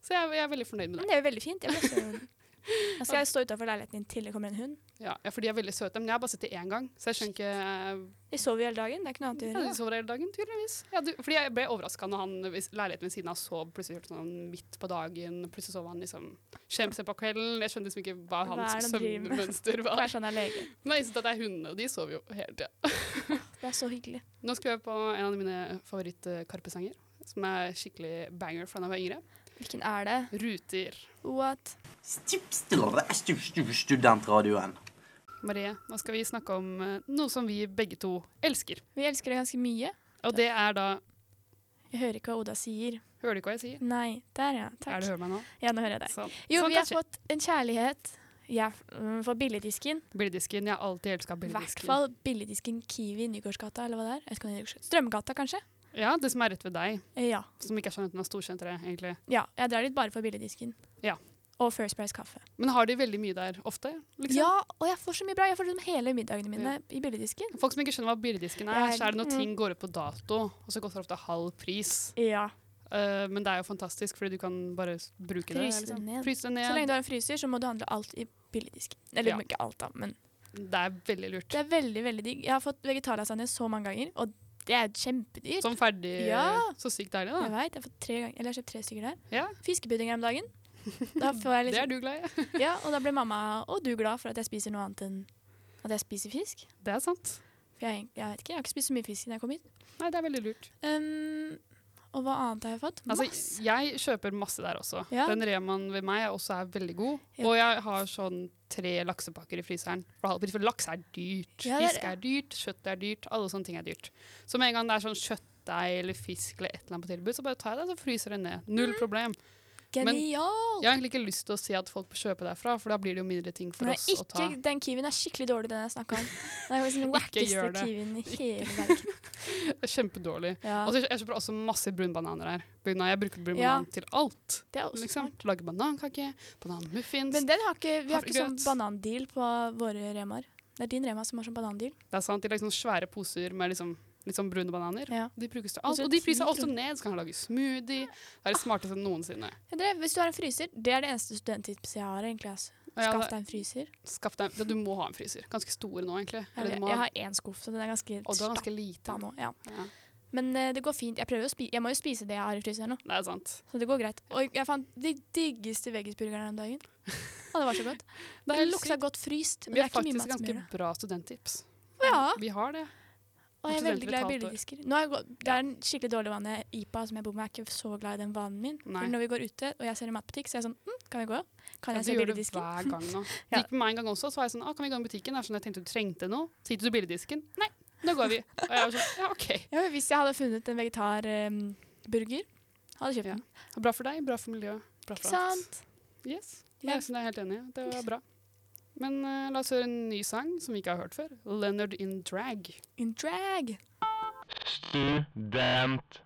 Speaker 2: Så jeg, jeg er veldig fornøyd med
Speaker 3: Men
Speaker 2: det.
Speaker 3: det er jo veldig fint. Jeg vil også... Da skal jeg stå utenfor leiligheten din til det kommer en hund.
Speaker 2: Ja, ja, for de er veldig søte, men jeg har bare sett det én gang. Så jeg skjønner ikke eh,
Speaker 3: De sover jo hele dagen. Det er ikke noe annet
Speaker 2: ja,
Speaker 3: å
Speaker 2: De
Speaker 3: gjøre. da.
Speaker 2: sover hele dagen, tydeligvis. Ja, du, fordi jeg ble overraska når han, hvis leiligheten ved siden av sov plutselig hørte sånn midt på dagen. Plutselig sov han liksom skjemt seg på kvelden. Jeg skjønner liksom ikke hva
Speaker 3: Hva er
Speaker 2: hans
Speaker 3: det han driver med?
Speaker 2: søvnmønster var.
Speaker 3: Kanskje han er lege.
Speaker 2: Men jeg synes at det er hundene, og de sover jo hele tida.
Speaker 3: Det er så hyggelig.
Speaker 2: Nå skal jeg på en av mine favoritt-Karpe-sanger, som er skikkelig banger fra da jeg var yngre.
Speaker 3: Hvilken er det?
Speaker 2: Ruter.
Speaker 3: What?
Speaker 7: Stup, stup, stup, stup, Studentradioen.
Speaker 2: Marie, nå skal vi snakke om eh, noe som vi begge to elsker.
Speaker 3: Vi elsker det ganske mye.
Speaker 2: Og det er da
Speaker 3: Jeg hører ikke hva Oda sier.
Speaker 2: Hører du ikke hva jeg sier?
Speaker 3: Nei, der ja.
Speaker 2: Er
Speaker 3: Takk.
Speaker 2: det hører meg nå?
Speaker 3: Ja, nå hører jeg deg.
Speaker 2: Sånn.
Speaker 3: Jo,
Speaker 2: sånn
Speaker 3: vi har
Speaker 2: kanskje.
Speaker 3: fått en kjærlighet. Jeg mm, for billigdisken.
Speaker 2: Billedisken. Jeg har alltid elska
Speaker 3: I hvert
Speaker 2: billedisken.
Speaker 3: fall billigdisken Kiwi i Nygårdsgata, eller hva det er. Jeg vet ikke hva det er. i Nygårdsgata. Strømgata, kanskje?
Speaker 2: Ja, det som er rett ved deg,
Speaker 3: Eh, Ja.
Speaker 2: som ikke er sånn at den er storsenteret, egentlig.
Speaker 3: ja. Jeg drar dit bare for billigdisken.
Speaker 2: Ja.
Speaker 3: Og First Price kaffe.
Speaker 2: Men har de veldig mye der ofte? Liksom?
Speaker 3: Ja, og jeg får så mye bra. Jeg får liksom hele middagene mine i billigdisken.
Speaker 2: Folk som ikke skjønner hva billedisken er,
Speaker 3: Jeg-
Speaker 2: så er det når
Speaker 3: mm.
Speaker 2: ting går ut på dato, og så koster det ofte halv pris.
Speaker 3: Ja.
Speaker 2: Eh, men det er jo fantastisk, fordi du kan bare s- bruke
Speaker 3: Fryse
Speaker 2: det. liksom.
Speaker 3: den ned.
Speaker 2: Fryse den
Speaker 3: Så lenge du
Speaker 2: ned.
Speaker 3: har en fryser, så må du handle alt i billigdisken. Eller
Speaker 2: Ja.
Speaker 3: ikke alt, da, men
Speaker 2: Det er veldig lurt.
Speaker 3: det er veldig, veldig digg. Jeg har fått vegetarlasagne så mange ganger, og det er kjempedyrt.
Speaker 2: Som ferdig
Speaker 3: Ja.
Speaker 2: Så sykt deilig,
Speaker 3: Jeg
Speaker 2: da.
Speaker 3: vet, jeg har fått tre ganger, eller jeg har kjøpt tre stykker der.
Speaker 2: Ja.
Speaker 3: Fiskepudding her om dagen. Da får jeg
Speaker 2: Det er
Speaker 3: liksom,
Speaker 2: du glad i.
Speaker 3: ja, og da blir mamma og du glad for at jeg spiser noe annet enn at jeg spiser fisk.
Speaker 2: Det er sant.
Speaker 3: For jeg, jeg vet ikke, jeg har ikke spist så mye fisk siden jeg kom hit.
Speaker 2: Nei, det er veldig lurt.
Speaker 3: Ehm, og hva annet har jeg fått?
Speaker 2: Altså,
Speaker 3: Masse.
Speaker 2: jeg kjøper masse der også.
Speaker 3: Ja.
Speaker 2: Den remaen ved meg er også er veldig god.
Speaker 3: Ja.
Speaker 2: Og jeg har sånn tre laksepakker i fryseren. For halv pris, for laks er dyrt.
Speaker 3: Ja, det er-
Speaker 2: Fisk er dyrt, kjøtt er dyrt, alle sånne ting er dyrt. Så med en gang det er sånn kjøttdeig eller fisk eller et eller annet på tilbud, så bare tar jeg det, så fryser det ned. Null
Speaker 3: Mm.
Speaker 2: problem. men-
Speaker 3: Genial!
Speaker 2: Jeg har egentlig ikke lyst til å si at folk bør kjøpe derfra, for da blir det jo mindre ting for
Speaker 3: Nei,
Speaker 2: oss å
Speaker 3: ikke,
Speaker 2: ta.
Speaker 3: den kiwien er skikkelig dårlig, den jeg snakka om. Den er faktisk den wackeste
Speaker 2: gjør det.
Speaker 3: kiwien i hele verden.
Speaker 2: Det er Kjempedårlig.
Speaker 3: Ja,
Speaker 2: Og så jeg kjøper også masse brunbananer her. Bruna- Jeg bruker brun
Speaker 3: Ja.
Speaker 2: banan til alt.
Speaker 3: det er også
Speaker 2: Liksom.
Speaker 3: smart.
Speaker 2: Lage banankake, bananmuffins.
Speaker 3: Men den har ikke, vi har ikke sånn
Speaker 2: Havregrøt.
Speaker 3: banandeal på våre remaer. Det er din rema som har sånn banandeal.
Speaker 2: Det er sant, De lager sånne svære poser med liksom, litt sånn brune bananer.
Speaker 3: Ja.
Speaker 2: De brukes til
Speaker 3: Og
Speaker 2: alt.
Speaker 3: så
Speaker 2: Og de
Speaker 3: ti
Speaker 2: priser også
Speaker 3: kroner.
Speaker 2: ned. Så kan du lage smoothie. Det er det smarteste noensinne.
Speaker 3: Jeg drev, hvis du har en fryser, det er det eneste studenttipset jeg har. egentlig. Altså.
Speaker 2: Og jeg
Speaker 3: Skaff
Speaker 2: hadde-
Speaker 3: deg en fryser.
Speaker 2: Skaff deg ja, Du må ha en fryser. Ganske stor nå, egentlig. Eller
Speaker 3: Jeg,
Speaker 2: du må
Speaker 3: jeg
Speaker 2: ha,
Speaker 3: har én skuff, så den er ganske
Speaker 2: og du har ganske
Speaker 3: stappa
Speaker 2: liten.
Speaker 3: nå. Ja.
Speaker 2: Ja.
Speaker 3: Men eh, det går fint. Jeg, prøver å spi jeg må jo spise det jeg har i fryseren nå.
Speaker 2: Det er sant.
Speaker 3: Så det går greit. Og jeg fant de diggeste veggisburgerne om dagen. Og det var så godt.
Speaker 2: Det
Speaker 3: Det
Speaker 2: er
Speaker 3: lukta
Speaker 2: sykt.
Speaker 3: godt fryst. Men
Speaker 2: Vi
Speaker 3: det
Speaker 2: har
Speaker 3: er ikke mye
Speaker 2: faktisk
Speaker 3: mat som
Speaker 2: ganske
Speaker 3: gjør det. Ah.
Speaker 2: bra studenttips.
Speaker 3: Ja,
Speaker 2: Vi har det.
Speaker 3: og jeg er veldig glad
Speaker 2: studentbetalt
Speaker 3: i
Speaker 2: år.
Speaker 3: billigdisker. Nå har jeg gått, det er en skikkelig dårlig vane. IPA som jeg bor med, er ikke så glad i den vanen min.
Speaker 2: Nei.
Speaker 3: For når vi går ute og jeg ser en matbutikk, så er jeg sånn mm, Kan vi gå? Kan
Speaker 2: Ja, du
Speaker 3: jeg se
Speaker 2: gjør det
Speaker 3: billigdisken?
Speaker 2: hver gang nå.
Speaker 3: Ja.
Speaker 2: Det gikk med meg en gang også. Så var jeg sånn ah, Kan vi gå i butikken? Det er sånn, jeg tenkte du trengte noe. Så gikk du til billedisken. Nei, nå går vi. Og jeg var sånn, ja, OK.
Speaker 3: Ja, men hvis jeg hadde funnet en vegetarburger, hadde jeg kjøpt
Speaker 2: Ja,
Speaker 3: den.
Speaker 2: Bra for deg, bra for miljøet, bra
Speaker 3: Ikke
Speaker 2: for alt.
Speaker 3: sant?
Speaker 2: Yes.
Speaker 3: Ja.
Speaker 2: Jeg er helt enig. i. Det var bra. Men eh, la oss høre en ny sang som vi ikke har hørt før. Leonard in Drag.
Speaker 3: In drag.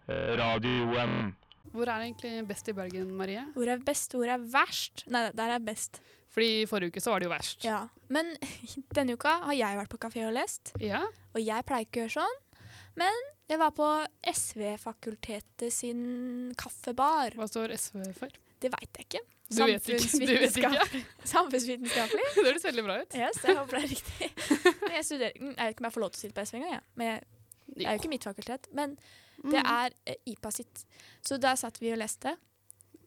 Speaker 8: Studentradioen.
Speaker 2: Hvor er det egentlig best i Bergen, Marie?
Speaker 3: Hvor er best, hvor er verst? Nei, der er best.
Speaker 2: Fordi forrige uke så var det jo verst.
Speaker 3: Ja. Men denne uka har jeg vært på kafé og lest,
Speaker 2: Ja?
Speaker 3: og jeg pleier ikke å gjøre sånn. Men jeg var på SV-fakultetet sin kaffebar.
Speaker 2: Hva står SV for?
Speaker 3: Det veit jeg ikke.
Speaker 2: Du vet ikke. Du vet ikke.
Speaker 3: Samfunnsvitenskapelig.
Speaker 2: Det høres veldig bra ut.
Speaker 3: Yes, jeg håper det er riktig. Men jeg, studerer, jeg vet ikke om jeg får lov til å sitte på SV engang. jeg. Men jeg, det er jo ikke mitt fakultet. Men det er eh, IPA sitt. Så der satt vi og leste.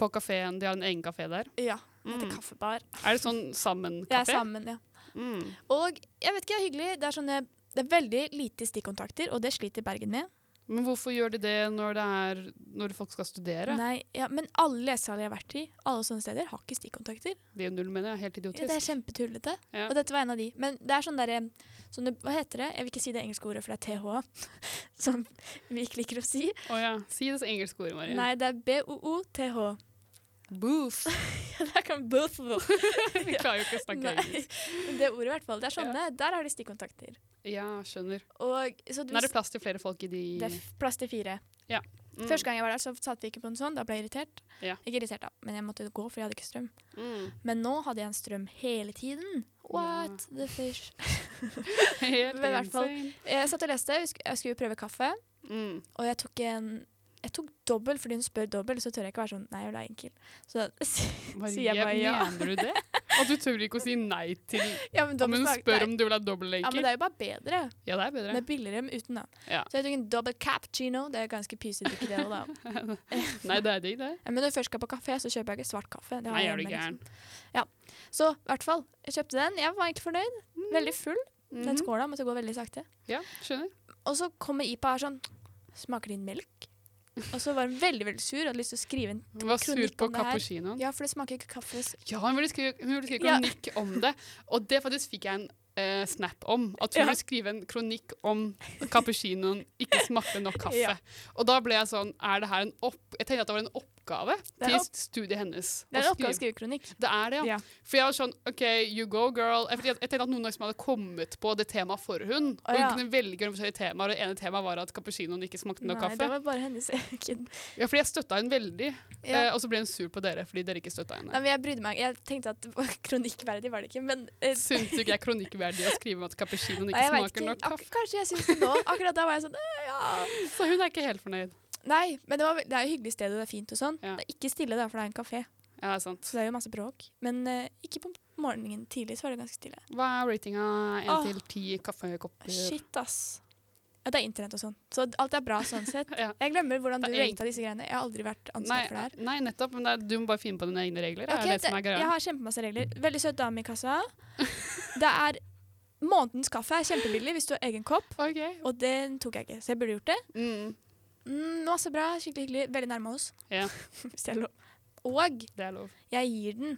Speaker 2: På kafeen. De har en egen kafé der.
Speaker 3: Ja. Etter
Speaker 2: Mm.
Speaker 3: kaffebar.
Speaker 2: Er det sånn sammen-kafé?
Speaker 3: Det er sammen, ja.
Speaker 2: Mm.
Speaker 3: Og jeg vet ikke, det er hyggelig. Det er, sånne, det er veldig lite stikkontakter, og det sliter Bergen med.
Speaker 2: Men hvorfor gjør de det når, det er, når folk skal studere?
Speaker 3: Nei, ja, Men alle lesesaler jeg har vært i, alle sånne steder, har ikke stikkontakter.
Speaker 2: Det er jo null, mener jeg. Helt
Speaker 3: Ja, det er
Speaker 2: idiotisk.
Speaker 3: kjempetullete.
Speaker 2: Ja.
Speaker 3: Og dette var en av de. Men det er sånn derre sånne, Hva heter det? Jeg vil ikke si det engelske ordet, for det er TH, som vi ikke liker å si.
Speaker 2: Å ja. Si det engelske ordet, Marie.
Speaker 3: Nei, det er BOOTH.
Speaker 2: Booth.
Speaker 3: Det er kan- booth.
Speaker 2: Vi klarer jo ikke å snakke engelsk.
Speaker 3: Nei, Det ordet, i hvert fall. Det er sånne. Der har de stikkontakter.
Speaker 2: Ja, skjønner.
Speaker 3: Og, så du,
Speaker 2: Nå er det plass til flere folk i de
Speaker 3: det er f- plass til fire.
Speaker 2: Mm.
Speaker 3: Første gang jeg var der, så satt vi ikke på en sånn. Da ble jeg irritert.
Speaker 2: Ja.
Speaker 3: Ikke irritert, da, men jeg måtte gå, for jeg hadde ikke strøm.
Speaker 2: Mm.
Speaker 3: Men nå hadde jeg en strøm hele tiden. What the fish?
Speaker 2: Helt
Speaker 3: Men i hvert fall-
Speaker 2: insane.
Speaker 3: Jeg satt og leste, jeg skulle- jeg skulle prøve kaffe,
Speaker 2: Mm.
Speaker 3: og jeg tok en jeg tok dobbel fordi hun spør dobbel, så tør jeg ikke være sånn Nei, jeg vil ha enkel. Så sier jeg bare ja.
Speaker 2: Mener du det? At du tør ikke å si nei til
Speaker 3: ja men
Speaker 2: Ja, Men
Speaker 3: dobbelt
Speaker 2: hun
Speaker 3: smak-
Speaker 2: spør
Speaker 3: nei.
Speaker 2: om du vil ha dobbel
Speaker 3: Ja, men
Speaker 2: enkel.
Speaker 3: det er jo bare bedre.
Speaker 2: Ja, det er bedre.
Speaker 3: Det er billigere med uten, da.
Speaker 2: Ja.
Speaker 3: Så jeg tok en dobbel cappuccino. Det er ganske pysete, ikke det òg, da.
Speaker 2: Nei, det er digg, det.
Speaker 3: Men når jeg først skal på kafé, så kjøper jeg ikke svart kaffe. Det har
Speaker 2: Nei,
Speaker 3: jeg
Speaker 2: er du
Speaker 3: hjemme,
Speaker 2: gæren.
Speaker 3: Liksom. Så i hvert fall, jeg kjøpte den. Jeg var egentlig fornøyd.
Speaker 2: Mm.
Speaker 3: Veldig full. Den
Speaker 2: Mhm.
Speaker 3: skåla måtte gå veldig sakte.
Speaker 2: Ja, skjønner.
Speaker 3: Og så kommer IPA her sånn Smaker din melk? Og så var hun veldig veldig sur og hadde lyst til å skrive en
Speaker 2: Hun var sur
Speaker 3: Mm, Kronikk
Speaker 2: på
Speaker 3: om det her.
Speaker 2: cappuccinoen.
Speaker 3: Ja, for det smaker ikke kaffe.
Speaker 2: Ja, hun ville skrive, hun ville skrive
Speaker 3: Ja.
Speaker 2: kronikk om det. Og det faktisk fikk jeg en eh, snap om. At hun
Speaker 3: Ja.
Speaker 2: ville skrive en kronikk om cappuccinoen ikke smakte nok kaffe.
Speaker 3: Ja.
Speaker 2: Og da ble jeg sånn Er det her en opp... Jeg tenkte at det var en oppgave
Speaker 3: er
Speaker 2: til
Speaker 3: opp-
Speaker 2: studiet hennes.
Speaker 3: Det er
Speaker 2: å
Speaker 3: en oppgave å
Speaker 2: skrive-
Speaker 3: skrive kronikk.
Speaker 2: Det er det, ja.
Speaker 3: Ja.
Speaker 2: For jeg var sånn OK, you go, girl. Jeg, fordi jeg, jeg tenkte at noen av dem som hadde kommet på det temaet for hun, og hun
Speaker 3: ja.
Speaker 2: kunne velge mellom forskjellige temaer, og det ene temaet var at cappuccinoen ikke smakte nok
Speaker 3: Nei, det
Speaker 2: kaffe.
Speaker 3: var bare hennes egen.
Speaker 2: Ja, fordi jeg støtta henne veldig, eh,
Speaker 3: Ja.
Speaker 2: og så ble hun sur på dere fordi dere ikke støtta henne.
Speaker 3: Nei, men jeg brydde meg Jeg tenkte at det var kronikkverdig var det ikke, men eh,
Speaker 2: Syns du ikke det er kronikkverdig å skrive om at cappuccinoen
Speaker 3: nei,
Speaker 2: ikke
Speaker 3: jeg vet
Speaker 2: smaker nok
Speaker 3: Ak-
Speaker 2: kaffe?
Speaker 3: Kanskje jeg syns det nå. Akkurat da var jeg sånn eh, ja.
Speaker 2: Så hun er ikke helt fornøyd.
Speaker 3: Nei, men det, var, ve- det er jo hyggelig sted, og det er fint og sånn.
Speaker 2: Ja.
Speaker 3: Det er ikke stille, da, for det er en kafé.
Speaker 2: Ja, det er sant.
Speaker 3: Så det er jo masse bråk. Men eh, ikke på morgenen tidlig, så var det ganske stille.
Speaker 2: Hva er ratinga én
Speaker 3: Åh.
Speaker 2: til ti kaffekopper?
Speaker 3: Shit, ass. Ja, det er internett og sånn. Så alt er bra sånn sett.
Speaker 2: Ja.
Speaker 3: Jeg glemmer hvordan du
Speaker 2: Det er eng-
Speaker 3: rata disse greiene. Jeg har aldri vært
Speaker 2: Nei,
Speaker 3: ansvar for det her.
Speaker 2: nei, nettopp. Men det er, du må bare finne på dine egne regler.
Speaker 3: Ok,
Speaker 2: er det, det som er
Speaker 3: Jeg
Speaker 2: greia.
Speaker 3: har kjempemasse regler. Veldig søt dame i kassa. Det er Månedens kaffe er kjempebillig hvis du har egen kopp,
Speaker 2: OK.
Speaker 3: og den tok jeg ikke. Så jeg burde gjort det.
Speaker 2: Mm,
Speaker 3: Mm, masse bra, skikkelig hyggelig. Veldig nærme oss.
Speaker 2: Ja.
Speaker 3: hvis det er lov. Og
Speaker 2: det er lov.
Speaker 3: jeg gir den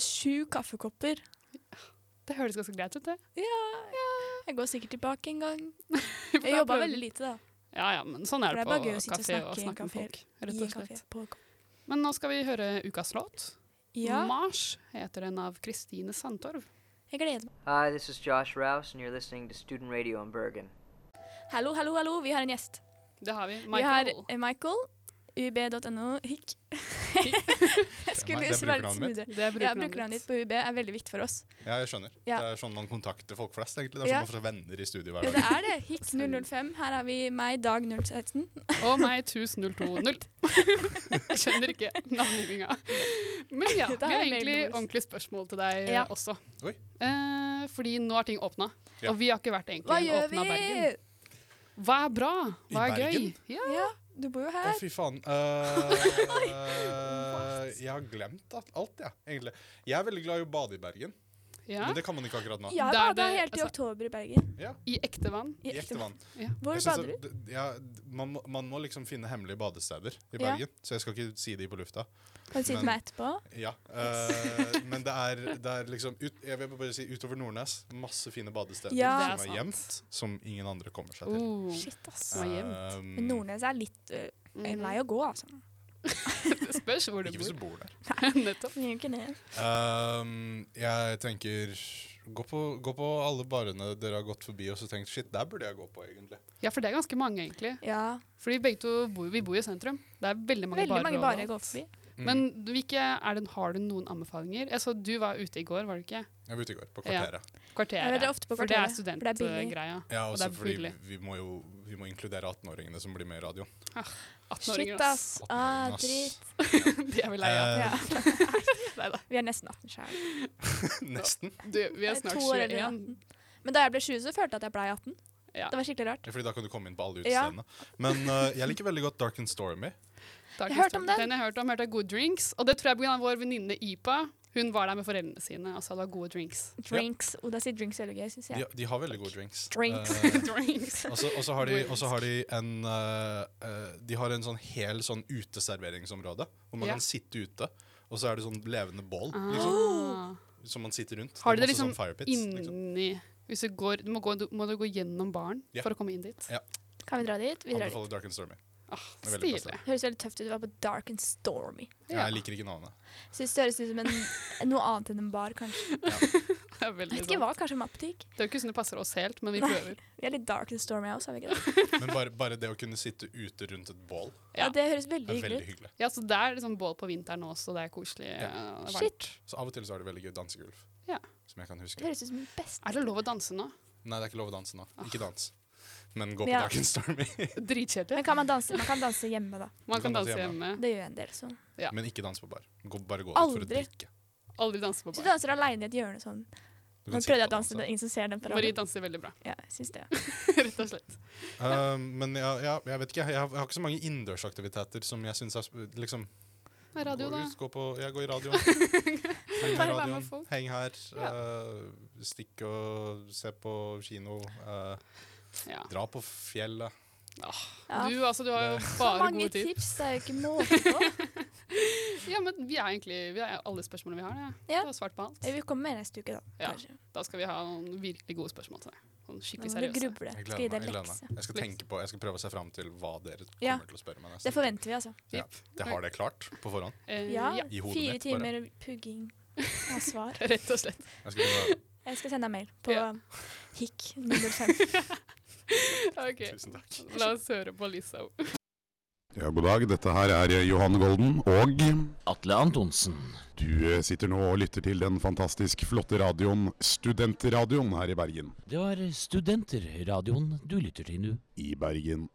Speaker 3: sju kaffekopper.
Speaker 2: Det høres ganske greit ut, det.
Speaker 3: Jeg går sikkert tilbake en gang.
Speaker 2: For
Speaker 3: Jeg
Speaker 2: da
Speaker 3: jobba
Speaker 2: prøver-
Speaker 3: veldig lite, da.
Speaker 2: Ja, ja, men sånn er
Speaker 3: For
Speaker 2: det,
Speaker 3: det er bare gøy
Speaker 2: på
Speaker 3: å sitte og
Speaker 2: kafé og
Speaker 3: snakke i en
Speaker 2: snakke med
Speaker 3: kafé,
Speaker 2: folk. Rett
Speaker 3: I
Speaker 2: og
Speaker 3: en kafé.
Speaker 2: slett.
Speaker 3: På kopp.
Speaker 2: Men nå skal vi høre ukas låt.
Speaker 3: Ja,
Speaker 2: 'Mars' heter den av Kristine Sandtorv.
Speaker 3: jeg gleder meg.
Speaker 9: Hi, this is Josh Rouse, and you're listening to Student Radio in Bergen.
Speaker 3: Hallo, hallo, hallo, vi har en gjest.
Speaker 2: Det har vi.
Speaker 3: Vi har
Speaker 2: Michael.
Speaker 3: eh, Michael, ub.no, hikk. jeg skulle
Speaker 8: Det er
Speaker 3: så være litt
Speaker 8: brukernavnet mitt.
Speaker 3: smoothere.
Speaker 2: Det er
Speaker 3: Ja,
Speaker 2: brukernavnet
Speaker 3: brukernavnet
Speaker 2: ditt.
Speaker 3: ditt på UB er veldig viktig for oss.
Speaker 8: Ja, jeg skjønner.
Speaker 3: Ja.
Speaker 8: Det er sånn man kontakter folk flest, egentlig. Det er
Speaker 3: Ja.
Speaker 8: sånn man får venner i studio hver
Speaker 3: Ja,
Speaker 8: dag.
Speaker 3: det er det. Hikk 005. Her har vi meg, Dag 016.
Speaker 2: Og meg 1002.0. Jeg skjønner ikke navngivninga. Men ja,
Speaker 3: Dette
Speaker 2: vi har
Speaker 3: er
Speaker 2: egentlig
Speaker 3: mailboys.
Speaker 2: ordentlige spørsmål til deg
Speaker 3: Ja.
Speaker 2: også.
Speaker 8: Oi.
Speaker 2: Eh, fordi nå er ting åpna,
Speaker 8: Ja.
Speaker 2: og vi har ikke vært
Speaker 3: Hva
Speaker 2: egentlig
Speaker 3: gjør
Speaker 2: åpna
Speaker 3: vi?
Speaker 2: Bergen. Hva er bra? Hva
Speaker 8: I
Speaker 2: er gøy?
Speaker 8: Bergen?
Speaker 2: Ja.
Speaker 3: Ja, du bor jo
Speaker 8: Å,
Speaker 3: her.
Speaker 8: fy faen. Eh, jeg har glemt alt, alt, jeg, egentlig. Jeg er veldig glad i å bade i Bergen.
Speaker 2: Ja.
Speaker 8: Men det kan man ikke akkurat nå.
Speaker 2: Der
Speaker 3: Jeg bada
Speaker 2: det-
Speaker 3: helt i
Speaker 2: altså-
Speaker 3: oktober i Bergen.
Speaker 2: I ekte vann.
Speaker 3: I
Speaker 8: I ekte vann.
Speaker 3: Hvor
Speaker 8: Jeg synes
Speaker 3: bader du?
Speaker 8: at- d- Ja, d- man, må- man må liksom finne hemmelige badesteder
Speaker 3: Ja.
Speaker 8: i Bergen, så jeg skal ikke si de på lufta.
Speaker 3: Kan du si det til meg etterpå?
Speaker 8: Ja, eh, Men det er, det er liksom ut, Jeg vil bare si utover Nordnes. Masse fine badesteder
Speaker 3: Ja.
Speaker 8: som
Speaker 2: Det
Speaker 8: er
Speaker 2: er
Speaker 8: gjemt, som ingen andre kommer seg til.
Speaker 2: Oh.
Speaker 3: Shit, ass.
Speaker 2: som er
Speaker 8: Eh,
Speaker 3: Men Nordnes er litt øh, en vei å gå, altså.
Speaker 2: Det spørs hvor du
Speaker 8: Ikke hvis du
Speaker 2: bor.
Speaker 8: bor der.
Speaker 2: Nettopp.
Speaker 3: Gjør ikke det.
Speaker 8: Eh, jeg tenker gå på, gå på alle barene dere har gått forbi og så tenkt shit, der burde jeg gå på, egentlig.
Speaker 2: Ja, for det er ganske mange, egentlig.
Speaker 3: Ja.
Speaker 2: Fordi begge to bor, vi bor i sentrum. Det er veldig mange
Speaker 10: Veldig mange
Speaker 2: barer.
Speaker 10: barer
Speaker 2: overalt.
Speaker 10: går forbi.
Speaker 8: Mm.
Speaker 2: Men du, hvilke, er det, har du noen anbefalinger? Jeg så du var ute i går, var du ikke?
Speaker 8: Jeg var ute i går, på
Speaker 2: Ja.
Speaker 8: kvarteret.
Speaker 2: Kvarteret.
Speaker 3: Jeg var ofte på
Speaker 2: for det
Speaker 3: Kvarteret,
Speaker 2: er
Speaker 3: for det er billig.
Speaker 2: studentgreia.
Speaker 8: Ja,
Speaker 2: Og
Speaker 8: også
Speaker 2: det er
Speaker 8: fordi
Speaker 2: billig.
Speaker 8: vi må jo vi må inkludere 18-åringene som blir med i radioen.
Speaker 2: 18-åringer,
Speaker 3: Shit,
Speaker 2: ass.
Speaker 3: ass. Ah,
Speaker 8: ass.
Speaker 3: drit.
Speaker 2: De er vel lei av
Speaker 8: Eh,
Speaker 3: Ja.
Speaker 2: Neida.
Speaker 10: Vi er nesten 18 sjøl.
Speaker 8: Nesten.
Speaker 2: Du, vi er
Speaker 10: Jeg er
Speaker 2: snart
Speaker 10: to år eldre
Speaker 2: 21.
Speaker 10: enn Men da jeg ble 20, så følte jeg at jeg ble 18.
Speaker 2: Ja.
Speaker 10: Det var skikkelig rart.
Speaker 8: Ja, Fordi da kan du komme inn på alle
Speaker 10: Ja.
Speaker 8: utestedene. Men eh, jeg liker veldig godt Dark and Stormy.
Speaker 2: Dark
Speaker 10: Jeg hørte
Speaker 2: Crystal.
Speaker 10: om den.
Speaker 2: Den jeg hørte om, hørte jeg gode drinks. Og det tror jeg på grunn av vår venninne Ipa. Hun var der med foreldrene sine og sa det var gode drinks.
Speaker 10: Drinks. Oda sier drinks er veldig gøy, syns
Speaker 8: De,
Speaker 10: jeg.
Speaker 8: de har veldig gode drinks.
Speaker 10: Drinks.
Speaker 8: Eh,
Speaker 2: drinks.
Speaker 8: og så- og så har, de- og så har de en eh, eh, De har en sånn hel sånn uteserveringsområde hvor man
Speaker 2: Ja.
Speaker 8: kan sitte ute. Og så er det sånn levende bål liksom,
Speaker 2: Ah.
Speaker 8: som man sitter rundt.
Speaker 2: Har
Speaker 8: Det er
Speaker 2: dere
Speaker 8: masse
Speaker 2: liksom
Speaker 8: sånn fire pits, liksom.
Speaker 2: inni hvis du, går, du, må gå, du må du gå gjennom baren
Speaker 8: Ja.
Speaker 2: for å komme inn dit.
Speaker 10: Kan vi dra dit? Vi drar dit.
Speaker 8: Anbefaler Dark and Stormy.
Speaker 2: Ah,
Speaker 8: Det er veldig
Speaker 2: Stilig.
Speaker 8: passende.
Speaker 10: Det høres veldig tøft ut. Det var på Dark and Stormy.
Speaker 2: Ja.
Speaker 8: Jeg liker ikke navnet.
Speaker 10: Syns det høres ut som en, noe annet enn en bar, kanskje.
Speaker 2: Det er veldig
Speaker 10: Jeg vet ikke
Speaker 2: sant.
Speaker 10: hva, kanskje en matbutikk?
Speaker 2: Det er jo ikke sånn det passer oss helt, men vi
Speaker 10: Nei.
Speaker 2: prøver.
Speaker 10: Vi er litt Dark and Stormy også, er vi ikke det?
Speaker 8: Men bare, bare det å kunne sitte ute rundt et bål
Speaker 2: Ja.
Speaker 10: Ja, det høres veldig
Speaker 8: er
Speaker 10: hyggelig
Speaker 8: veldig
Speaker 10: ut.
Speaker 8: hyggelig.
Speaker 2: Ja, så Det er liksom bål på vinteren også, det er koselig.
Speaker 8: Ja.
Speaker 2: eh, det er varmt.
Speaker 10: Shit.
Speaker 8: Så av og til så er det veldig gøy dansegulv.
Speaker 2: Ja.
Speaker 8: Som jeg kan
Speaker 10: Det
Speaker 8: huske.
Speaker 10: høres ut som den beste.
Speaker 2: Er det lov å danse nå?
Speaker 8: Nei, det er ikke lov å danse nå. Ikke dans. Men gå på
Speaker 10: Ja.
Speaker 8: Dark and Stormy.
Speaker 2: Dritkjedelig.
Speaker 10: Men kan man danse? Man kan danse hjemme, da.
Speaker 2: Man kan danse hjemme.
Speaker 10: Det gjør jeg en del, så.
Speaker 2: Ja.
Speaker 8: Men ikke dans på bar. Gå, bare gå ut for å
Speaker 10: Aldri.
Speaker 8: drikke.
Speaker 2: Aldri danse på
Speaker 10: Så du
Speaker 2: bar.
Speaker 10: danser aleine i et hjørne sånn.
Speaker 8: Du kan
Speaker 10: Nå
Speaker 8: sitte
Speaker 10: prøvde jeg
Speaker 8: og
Speaker 10: å danse, det er ingen som ser den på
Speaker 2: Marie
Speaker 10: radioen.
Speaker 2: danser veldig bra,
Speaker 10: Ja, jeg syns det.
Speaker 2: rett og slett.
Speaker 8: Eh, men ja, ja, jeg vet ikke, jeg, har- jeg har ikke så mange innendørsaktiviteter som jeg syns er sp- liksom,
Speaker 2: Det er Radio,
Speaker 8: gå
Speaker 2: da.
Speaker 8: ut, gå på, Jeg går i radioen. Heng,
Speaker 2: Bare
Speaker 8: i
Speaker 2: være med
Speaker 8: radioen.
Speaker 2: folk.
Speaker 8: Heng her.
Speaker 2: Ja.
Speaker 8: eh, stikk og se på kino. eh,
Speaker 2: Ja.
Speaker 8: dra på fjellet.
Speaker 10: Ja.
Speaker 2: Du, altså, du har jo
Speaker 10: Så
Speaker 2: bare
Speaker 10: mange
Speaker 2: gode tips.
Speaker 10: tips, det er jo ikke måte på.
Speaker 2: Ja, men vi er egentlig vi er alle spørsmålene vi har. Ja.
Speaker 10: Ja.
Speaker 2: Du har svart på alt.
Speaker 10: Vi kommer med neste uke, da.
Speaker 2: Ja.
Speaker 10: Kanskje.
Speaker 2: Da skal vi ha noen virkelig gode spørsmål til deg. Sånn
Speaker 10: Nå
Speaker 2: skikkelig
Speaker 10: må du
Speaker 2: seriøse.
Speaker 10: gruble.
Speaker 8: Jeg
Speaker 10: Skal gi deg
Speaker 8: gleder meg. Jeg, gleder
Speaker 10: lekse.
Speaker 8: meg. jeg skal tenke på, jeg skal prøve å se fram til hva dere kommer
Speaker 10: Ja.
Speaker 8: til å spørre meg. neste
Speaker 10: Det
Speaker 8: uke.
Speaker 10: forventer vi, altså.
Speaker 8: Ja. Jeg har det klart på forhånd.
Speaker 2: Eh,
Speaker 10: Ja.
Speaker 2: ja.
Speaker 8: I hodet
Speaker 10: Fire
Speaker 8: mitt, bare.
Speaker 10: timer pugging av svar.
Speaker 2: Rett og slett.
Speaker 8: Jeg skal begynne å-
Speaker 10: Jeg skal sende deg mail på
Speaker 2: Ja.
Speaker 10: hikk nummer fem.
Speaker 2: Ok,
Speaker 8: Tusen takk.
Speaker 2: La oss høre på Lizzo.
Speaker 11: Ja, god dag. Dette her er Johan Golden, og
Speaker 6: Atle Antonsen.
Speaker 11: du eh, sitter nå og lytter til den fantastisk flotte radioen Studentradioen her i Bergen.
Speaker 6: Det var Studenterradioen du lytter til nå.
Speaker 11: I Bergen.